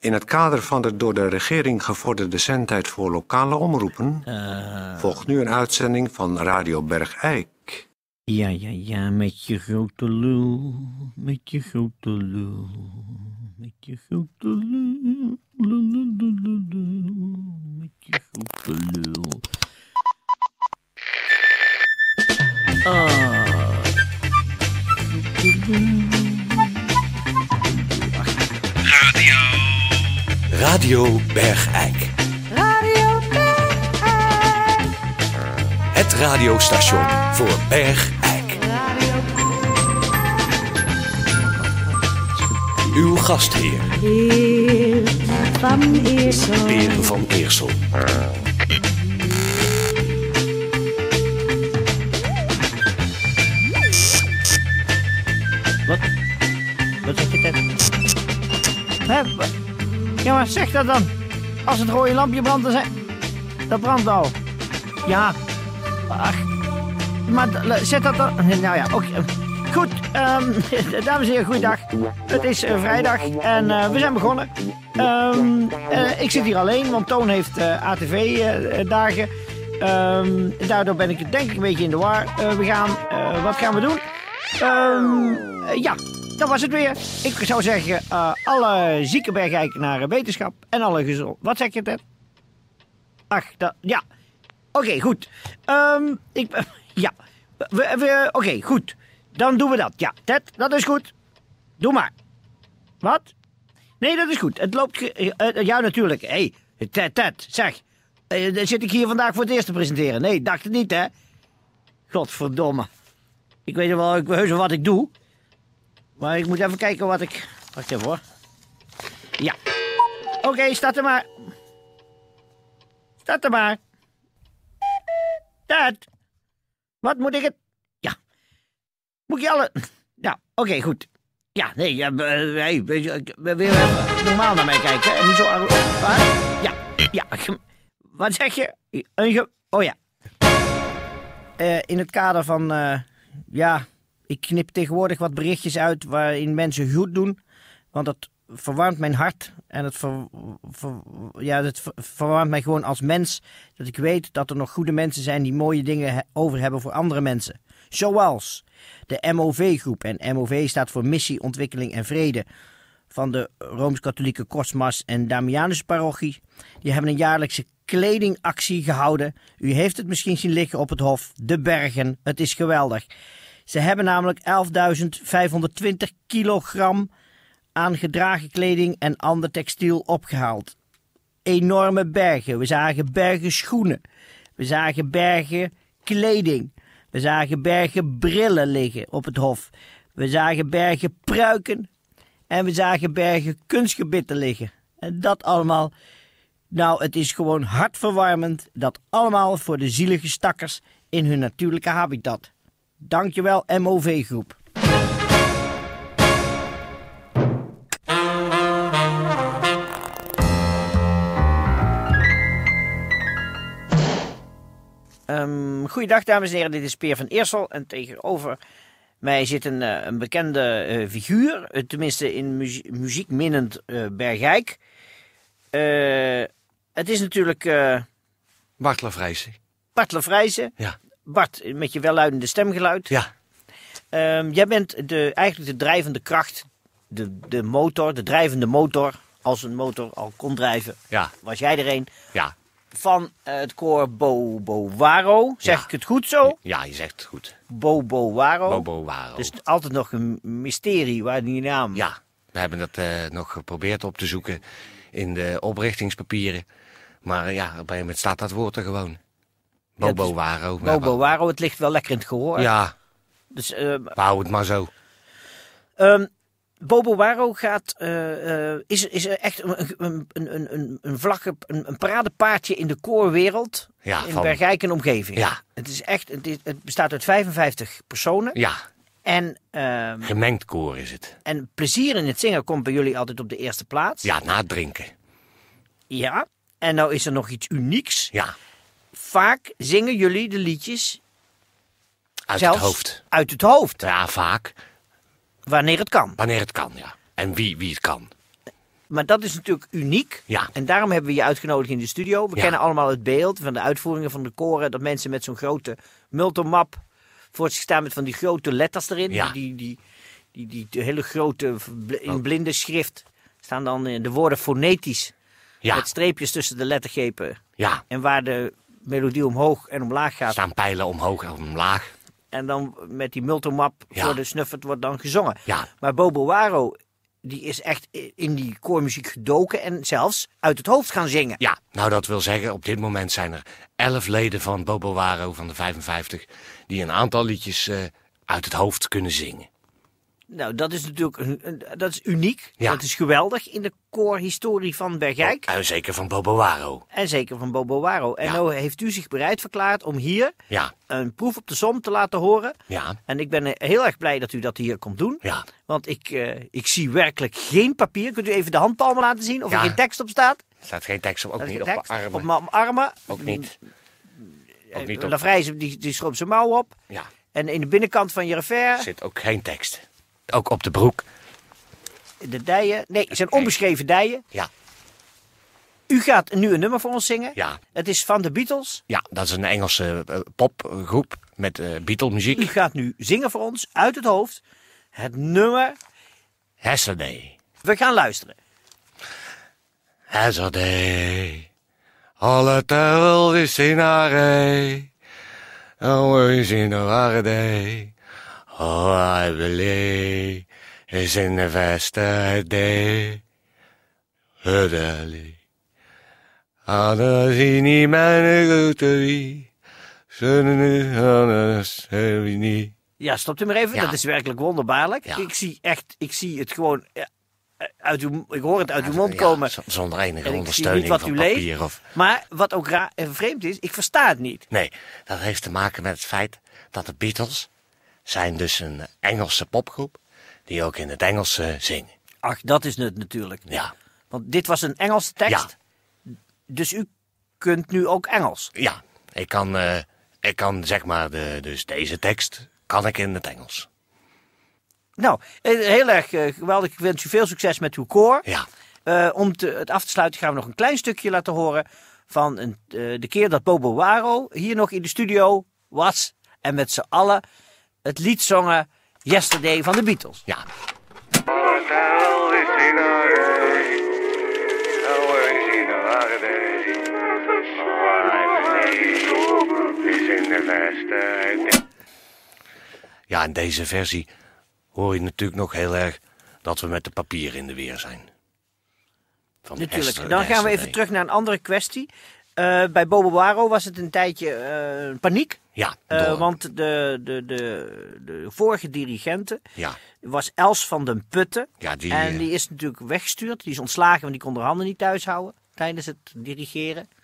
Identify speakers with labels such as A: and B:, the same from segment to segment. A: In het kader van de door de regering gevorderde zendtijd voor lokale omroepen volgt nu een uitzending van Radio Bergijk.
B: Ja, ja, ja, met je grote lul, met je grote lul, met je grote lul, lul, lul, lul, lul, lul, met je grote lul. Ah. Grote lul.
C: Radio Bergijk.
D: Radio Bergijk.
C: Het radiostation voor Bergijk. Uw gastheer,
D: Heer van Eersel.
C: Beren van Eersel.
B: Wat? Wat zeg je daar? Hé, wa- jongens, zeg dat dan. Als het rode lampje brandt, dan zijn... Dat brandt al. Ja. Ach. Maar d- le- zet dat dan... Nou ja, oké. Goed, ehm, dames en heren, goeiedag. Het is eh, vrijdag en eh, we zijn begonnen. Ehm, eh, ik zit hier alleen, want Toon heeft eh, ATV-dagen. Ehm, daardoor ben ik denk ik een beetje in de war. Eh, we gaan... eh, wat gaan we doen? Ehm, eh, ja, dat was het weer. Ik zou zeggen, eh, alle zieke bergijkenaren eh, wetenschap en alle gezond. Wat zeg je, Ted? Ach, dat, ja. Oké, goed. Ehm, ik, ja, we, we, oké, goed. Dan doen we dat. Ja, Ted, dat is goed. Doe maar. Wat? Nee, dat is goed. Het loopt... ge- eh, eh, ja, natuurlijk. Hé, hey, Ted, Ted, zeg. Eh, dan zit ik hier vandaag voor het eerst te presenteren? Nee, dacht het niet, hè? Godverdomme. Ik weet wel, ik heus wel wat ik doe. Maar ik moet even kijken wat ik... Wacht even hoor. Ja. Oké, staat er maar. Staat er maar. Dat. Wat moet ik het... Ja. Moet je alle... Ja, oké, goed. Ja, nee, ja, eh, hey, weet je, ik- weer even normaal naar mij kijken. En niet zo... arro- Wat? Ja, ja. ge- Wat zeg je? Een ge- Oh ja, eh, in het kader van, eh, ja, ik knip tegenwoordig wat berichtjes uit waarin mensen goed doen. Want dat verwarmt mijn hart en het, ver, ver- ja, het ver- verwarmt mij gewoon als mens. Dat ik weet dat er nog goede mensen zijn die mooie dingen he- over hebben voor andere mensen. Zoals de MOV-groep. En MOV staat voor Missie, Ontwikkeling en Vrede van de Rooms-Katholieke Kosmas en Damianus parochie. Die hebben een jaarlijkse kledingactie gehouden. U heeft het misschien zien liggen op het Hof, de Bergen. Het is geweldig. Ze hebben namelijk 11.520 kilogram aan gedragen kleding en ander textiel opgehaald. Enorme bergen. We zagen bergen schoenen. We zagen bergen kleding. We zagen bergen brillen liggen op het Hof. We zagen bergen pruiken, en we zagen bergen kunstgebitten liggen. En dat allemaal. Nou, het is gewoon hartverwarmend. Dat allemaal voor de zielige stakkers in hun natuurlijke habitat. Dankjewel, MOV-groep. Ehm goeiedag, dames en heren. Dit is Peer van Eersel. En tegenover mij zit een, eh, een bekende eh, figuur. eh, tenminste, in muzie- muziekminnend eh, Bergijk. Eh, het is natuurlijk eh
C: Bart Lafrijzen.
B: Bart Lafrijzen.
C: Ja.
B: Bart, met je welluidende stemgeluid.
C: Ja.
B: Ehm, jij bent de, eigenlijk de drijvende kracht. De, de motor, de drijvende motor. Als een motor al kon drijven,
C: Ja.
B: was jij er een.
C: Ja.
B: Van eh, het koor Bo Bo Waro. Zeg
C: Ja.
B: ik het goed zo?
C: Ja, je zegt het goed.
B: Bo Bo Waro.
C: Bobo Waro.
B: Dus altijd nog een mysterie waar die naam.
C: Oh. Ja, we hebben dat eh, nog geprobeerd op te zoeken in de oprichtingspapieren. Maar eh, ja, op een gegeven moment staat dat woord er gewoon.
B: Dat
C: Bobo
B: is-
C: Waro. maar
B: Bobo Waro, het ligt wel lekker in het gehoor.
C: wa- Ja,
B: Dus, ehm,
C: we houden het maar zo.
B: ehm, Bobo Waro gaat, eh, eh, is, is echt een, een, een, een- een, een vlagge, een, een paradepaardje in de koorwereld.
C: Ja,
B: in
C: van-
B: Bergijk en omgeving.
C: Ja.
B: Het, is echt, het, is- het bestaat uit 55 personen.
C: Ja,
B: En, ehm,
C: gemengd koor is het.
B: en plezier in het zingen komt bij jullie altijd op de eerste plaats.
C: Ja, na het drinken.
B: ja. En nou is er nog iets unieks.
C: Ja,
B: Vaak zingen jullie de liedjes
C: uit
B: zelfs
C: het hoofd.
B: uit het hoofd.
C: Ja, vaak.
B: Wanneer het kan.
C: Wanneer het kan, ja. En wie, wie het kan.
B: Maar dat is natuurlijk uniek.
C: Ja.
B: En daarom hebben we je uitgenodigd in de studio. We
C: Ja.
B: kennen allemaal het beeld van de uitvoeringen van de koren. Dat mensen met zo'n grote multimap voor zich staan met van die grote letters erin.
C: Ja. Oh.
B: Die, die, die, die, die hele grote, bl- in blinde schrift staan dan eh, de woorden fonetisch.
C: Ja,
B: Met streepjes tussen de lettergrepen.
C: ja.
B: En waar de melodie omhoog en omlaag
C: Er
B: gaat.
C: staan pijlen omhoog en omlaag.
B: En dan met die multimap
C: Ja.
B: voor de snuffert wordt dan gezongen.
C: Ja.
B: Maar Bobo Waro, die is echt i- in die koormuziek gedoken en zelfs uit het hoofd gaan zingen.
C: Ja, nou dat wil zeggen, op dit moment zijn er elf leden van Bobo Waro van de 55 die een aantal liedjes eh, uit het hoofd kunnen zingen.
B: Nou, dat is natuurlijk een, een- dat is uniek.
C: Ja.
B: Dat is geweldig in de koorhistorie van Bergijk.
C: En Eh, zeker van Bobo Waro.
B: En zeker van Bobo Waro. En
C: Ja.
B: nou heeft u zich bereid verklaard om hier
C: Ja,
B: een proef op de som te laten horen.
C: ja,
B: En ik ben eh, heel erg blij dat u dat hier komt doen.
C: ja.
B: Want ik, eh, ik zie werkelijk geen papier. Kunt u even de handpalmen laten zien of
C: Ja.
B: er geen tekst op staat?
C: Er staat geen tekst op, ook
B: Er is
C: niet op
B: geen
C: de
B: tekst. Op
C: armen.
B: mijn armen.
C: Ook niet.
B: Eh,
C: Ook niet op...
B: Lavrijzen, die, die schroopt zijn mouw op.
C: Ja,
B: En in de binnenkant van je
C: er
B: revers,
C: zit ook geen tekst. Ook op de broek.
B: de dijen. Nee, het zijn onbeschreven dijen.
C: Ja,
B: U gaat nu een nummer voor ons zingen.
C: ja.
B: Het is van de Beatles.
C: Ja, dat is een Engelse eh, popgroep met eh Beatle-muziek.
B: U gaat nu zingen voor ons uit het hoofd het nummer.
C: Hessenday.
B: We gaan luisteren.
C: Hessenday. Alle terrel is in haar rij. Oh, is in haar day. Oh, I believe is in the vast day. Hudali. Anders is niet mijn grote wie. Zullen anders hebben niet.
B: Ja, stopt u maar even.
C: Ja.
B: Dat is werkelijk wonderbaarlijk.
C: Ja.
B: Ik zie echt, ik zie het gewoon. eh, eh, Uit uw, ik hoor het uit uw mond
C: Ja,
B: komen.
C: z- zonder enige
B: En ik zie
C: ondersteuning
B: niet wat
C: van
B: u
C: papier
B: leest.
C: of...
B: Maar wat ook raar en vreemd is, ik versta het niet.
C: Nee, dat heeft te maken met het feit dat de Beatles zijn dus een Engelse popgroep die ook in het Engels eh, zingen.
B: Ach, dat is het natuurlijk.
C: Ja,
B: Want dit was een Engelse tekst. Dus u kunt nu ook Engels.
C: ja. Ik kan, eh, ik kan zeg maar, de, dus deze tekst kan ik in het Engels.
B: Nou, eh, heel erg eh, geweldig. Ik wens u veel succes met uw koor.
C: Ja,
B: Eh, om te- het af te sluiten gaan we nog een klein stukje laten horen van een, eh, de keer dat Bobo Waro hier nog in de studio was. En met z'n allen het lied zongen Yesterday van de Beatles.
C: ja. Ja, in deze versie hoor je natuurlijk nog heel erg dat we met de papier in de weer zijn. Van
B: Natuurlijk.
C: Hester-
B: Dan gaan we
C: Hester
B: even
C: B.
B: terug naar een andere kwestie. Eh, bij Bobo Waro was het een tijdje eh, paniek.
C: Ja,
B: Eh,
C: door-
B: want de, de, de, de vorige dirigente
C: ja,
B: was Els van den Putten.
C: ja, die,
B: en
C: eh,
B: die is natuurlijk weggestuurd. Die is ontslagen, want die kon haar handen niet thuis houden tijdens het dirigeren. Er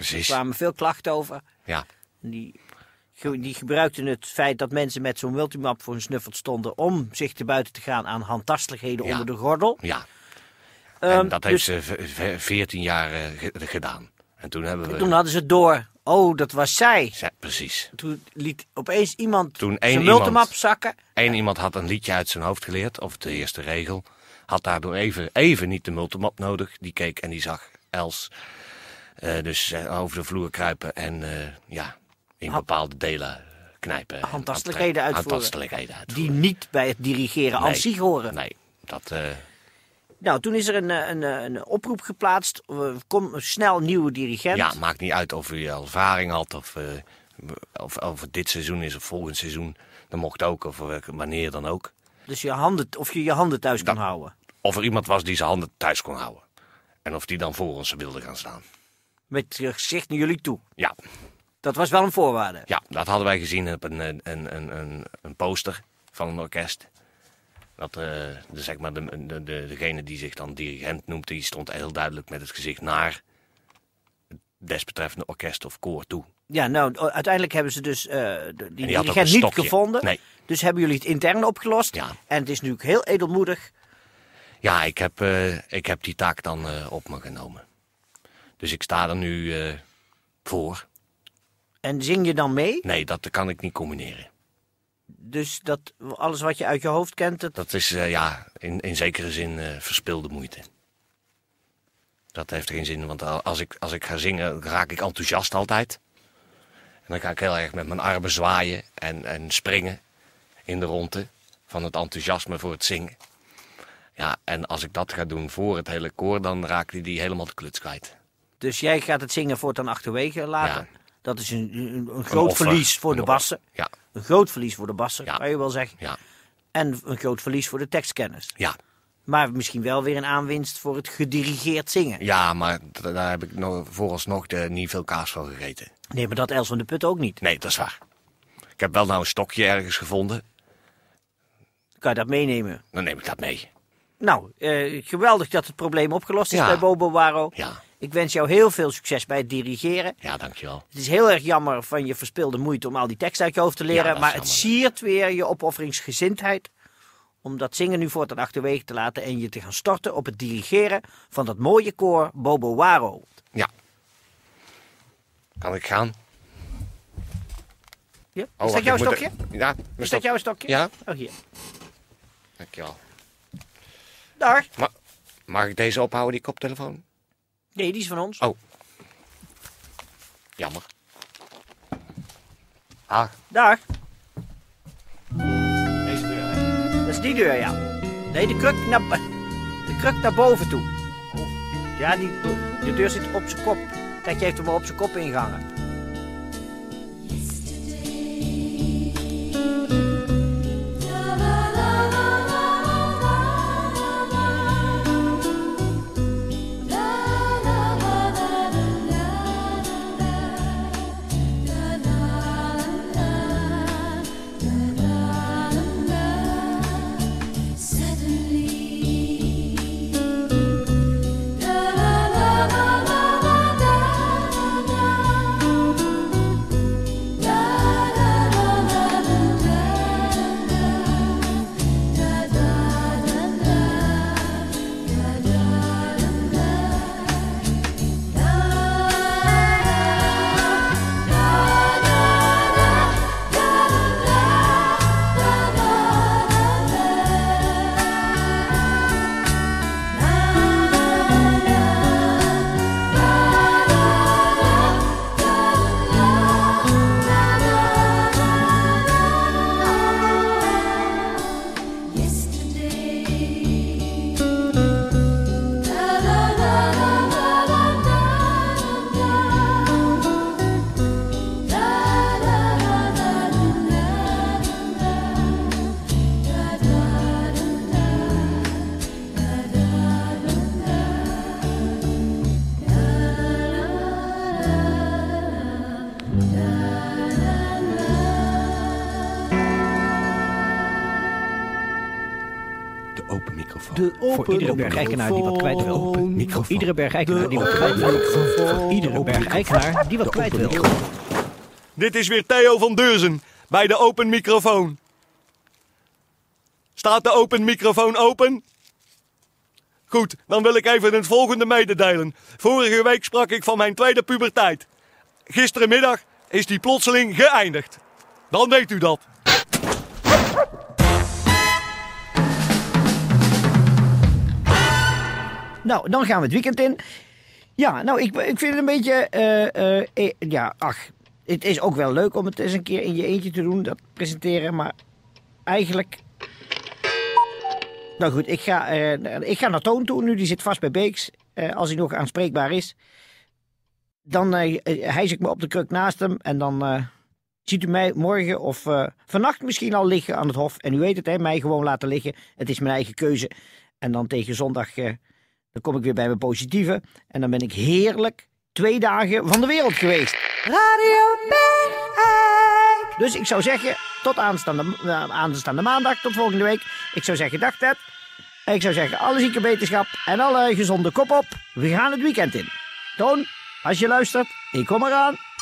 C: precies.
B: kwamen veel klachten over.
C: Ja,
B: En Die, ge- die gebruikten het feit dat mensen met zo'n multimap voor hun snuffert stonden... om zich te buiten te gaan aan handtastelijkheden
C: Ja.
B: onder de gordel.
C: ja.
B: Ehm,
C: en dat heeft
B: dus
C: ze ve- ve- 14 jaar eh, ge- gedaan. En toen hebben we.
B: toen hadden ze het door. Oh, dat was zij.
C: Ze- precies.
B: Toen liet opeens iemand
C: Toen één
B: zijn
C: iemand-
B: multimap zakken.
C: Eén iemand had een liedje uit zijn hoofd geleerd, of de eerste regel. Had daardoor even, even niet de multimap nodig. Die keek en die zag Els. eh, dus eh, over de vloer kruipen en eh, ja, in bepaalde delen knijpen. en
B: Handtastelijkheden
C: aantre-
B: uitvoeren.
C: Handtastelijkheden uitvoeren.
B: Die niet bij het dirigeren aan
C: Nee.
B: zich horen.
C: Nee, dat. eh,
B: Nou, toen is er een, eh, een, eh, een oproep geplaatst. eh, Kom snel een nieuwe dirigent.
C: Ja, maakt niet uit of u al ervaring had of, eh, of, of het dit seizoen is of volgend seizoen. Dat mocht ook, of eh, wanneer dan ook.
B: Dus je handen, of je je handen thuis kan
C: Dat-
B: houden.
C: Of er iemand was die zijn handen thuis kon houden. En of die dan voor ons wilde gaan staan.
B: Met je gezicht naar jullie toe.
C: Ja,
B: Dat was wel een voorwaarde.
C: ja dat hadden wij gezien op een, eh, een, een, een, een poster van een orkest. Dat eh, de, zeg maar de, de, de- degene die zich dan dirigent noemt, die stond heel duidelijk met het gezicht naar het desbetreffende orkest of koor toe.
B: Ja, nou, o- uiteindelijk hebben ze dus eh, de- die
C: En die had ook
B: dirigent
C: een
B: niet
C: stokje.
B: gevonden.
C: Nee.
B: Dus hebben jullie het intern opgelost.
C: Ja.
B: En het is natuurlijk heel edelmoedig.
C: Ja, ik heb, eh, ik heb die taak dan eh, op me genomen. Dus ik sta er nu eh, voor.
B: En zing je dan mee?
C: Nee, dat kan ik niet combineren.
B: Dus dat alles wat je uit je hoofd kent, dat
C: Dat is eh, ja, in, in zekere zin eh, verspilde moeite. Dat heeft geen zin, want al- als ik, als ik ga zingen raak ik enthousiast altijd. En dan ga ik heel erg met mijn armen zwaaien en, en springen in de ronde van het enthousiasme voor het zingen. Ja, en als ik dat ga doen voor het hele koor, dan raakt hij die helemaal de kluts kwijt.
B: Dus jij gaat het zingen voortaan achterwege laten.
C: Ja.
B: Dat is een, een, een
C: Een
B: groot
C: offer.
B: verlies voor
C: Een
B: de
C: offer.
B: bassen.
C: Ja,
B: Een groot verlies voor de bassen,
C: Ja.
B: kan je wel zeggen.
C: ja,
B: En een groot verlies voor de tekstkennis.
C: ja.
B: Maar misschien wel weer een aanwinst voor het gedirigeerd zingen.
C: Ja, maar d- daar heb ik nog, vooralsnog eh, niet veel kaas van gegeten.
B: Nee, maar dat Els van de Put ook niet.
C: Nee, dat is waar. Ik heb wel nou een stokje ergens gevonden.
B: Kan je dat meenemen?
C: Dan neem ik dat mee.
B: Nou, eh, geweldig dat het probleem opgelost is
C: Ja.
B: bij Bobo Waro.
C: Ja.
B: Ik wens jou heel veel succes bij het dirigeren.
C: Ja, dankjewel.
B: Het is heel erg jammer van je verspilde moeite om al die tekst uit je hoofd te
C: Ja,
B: leren.
C: dat is
B: maar het
C: jammer.
B: siert weer je opofferingsgezindheid. Om dat zingen nu voortaan achterwege te laten en je te gaan storten op het dirigeren van dat mooie koor Bobo Waro.
C: Ja. Kan ik gaan?
B: Ja?
C: Oh,
B: is dat
C: wacht,
B: jouw
C: ik moet
B: stokje?
C: er- Ja, mijn
B: Is
C: stok-
B: dat jouw stokje?
C: Ja.
B: Oh, hier.
C: Dankjewel.
B: Daar.
C: Ma mag ik deze ophouden, die koptelefoon?
B: Nee, die is van ons.
C: Oh. Jammer. Ah,
B: Daar. Deze deur, hè? Dat is die deur, ja. Nee, de kruk naar, bo- de kruk naar boven toe. Ja, die, de deur zit op zijn kop. Kijk, je heeft hem al op zijn kop ingehangen.
E: De open microfoon.
F: De
B: Voor iedere
F: open
B: bergeigenaar die wat kwijt wil.
F: microfoon.
E: microfoon.
B: Iedere bergeigenaar die wat
F: De
B: kwijt wil.
F: open
B: Voor iedere
E: microfoon.
B: bergeigenaar die wat kwijt wil.
G: Dit is weer Theo van Deurzen bij de open microfoon. Staat de open microfoon open? Goed, dan wil ik even het volgende mededelen. Vorige week sprak ik van mijn tweede puberteit. Gisterenmiddag is die plotseling geëindigd. Dan weet u dat.
B: Nou, dan gaan we het weekend in. Ja, nou, ik, ik vind het een beetje. eh, eh, eh, ja, ach. Het is ook wel leuk om het eens een keer in je eentje te doen, dat presenteren. Maar eigenlijk. Nou goed, ik ga, eh, ik ga naar Toon toe nu. Die zit vast bij Beeks. Eh, als hij nog aanspreekbaar is. Dan eh hijs ik me op de kruk naast hem. En dan eh, ziet u mij morgen of eh, vannacht misschien al liggen aan het hof. En u weet het, hè, mij gewoon laten liggen. Het is mijn eigen keuze. En dan tegen zondag. eh, dan kom ik weer bij mijn positieve. En dan ben ik heerlijk twee dagen van de wereld geweest.
D: Radio Bergijk.
B: Dus ik zou zeggen, tot aanstaande, eh, aanstaande maandag, tot volgende week. Ik zou zeggen, dag Ted. Ik zou zeggen, alle zieke wetenschap en alle gezonde kop op. We gaan het weekend in. Toon, als je luistert, ik kom eraan.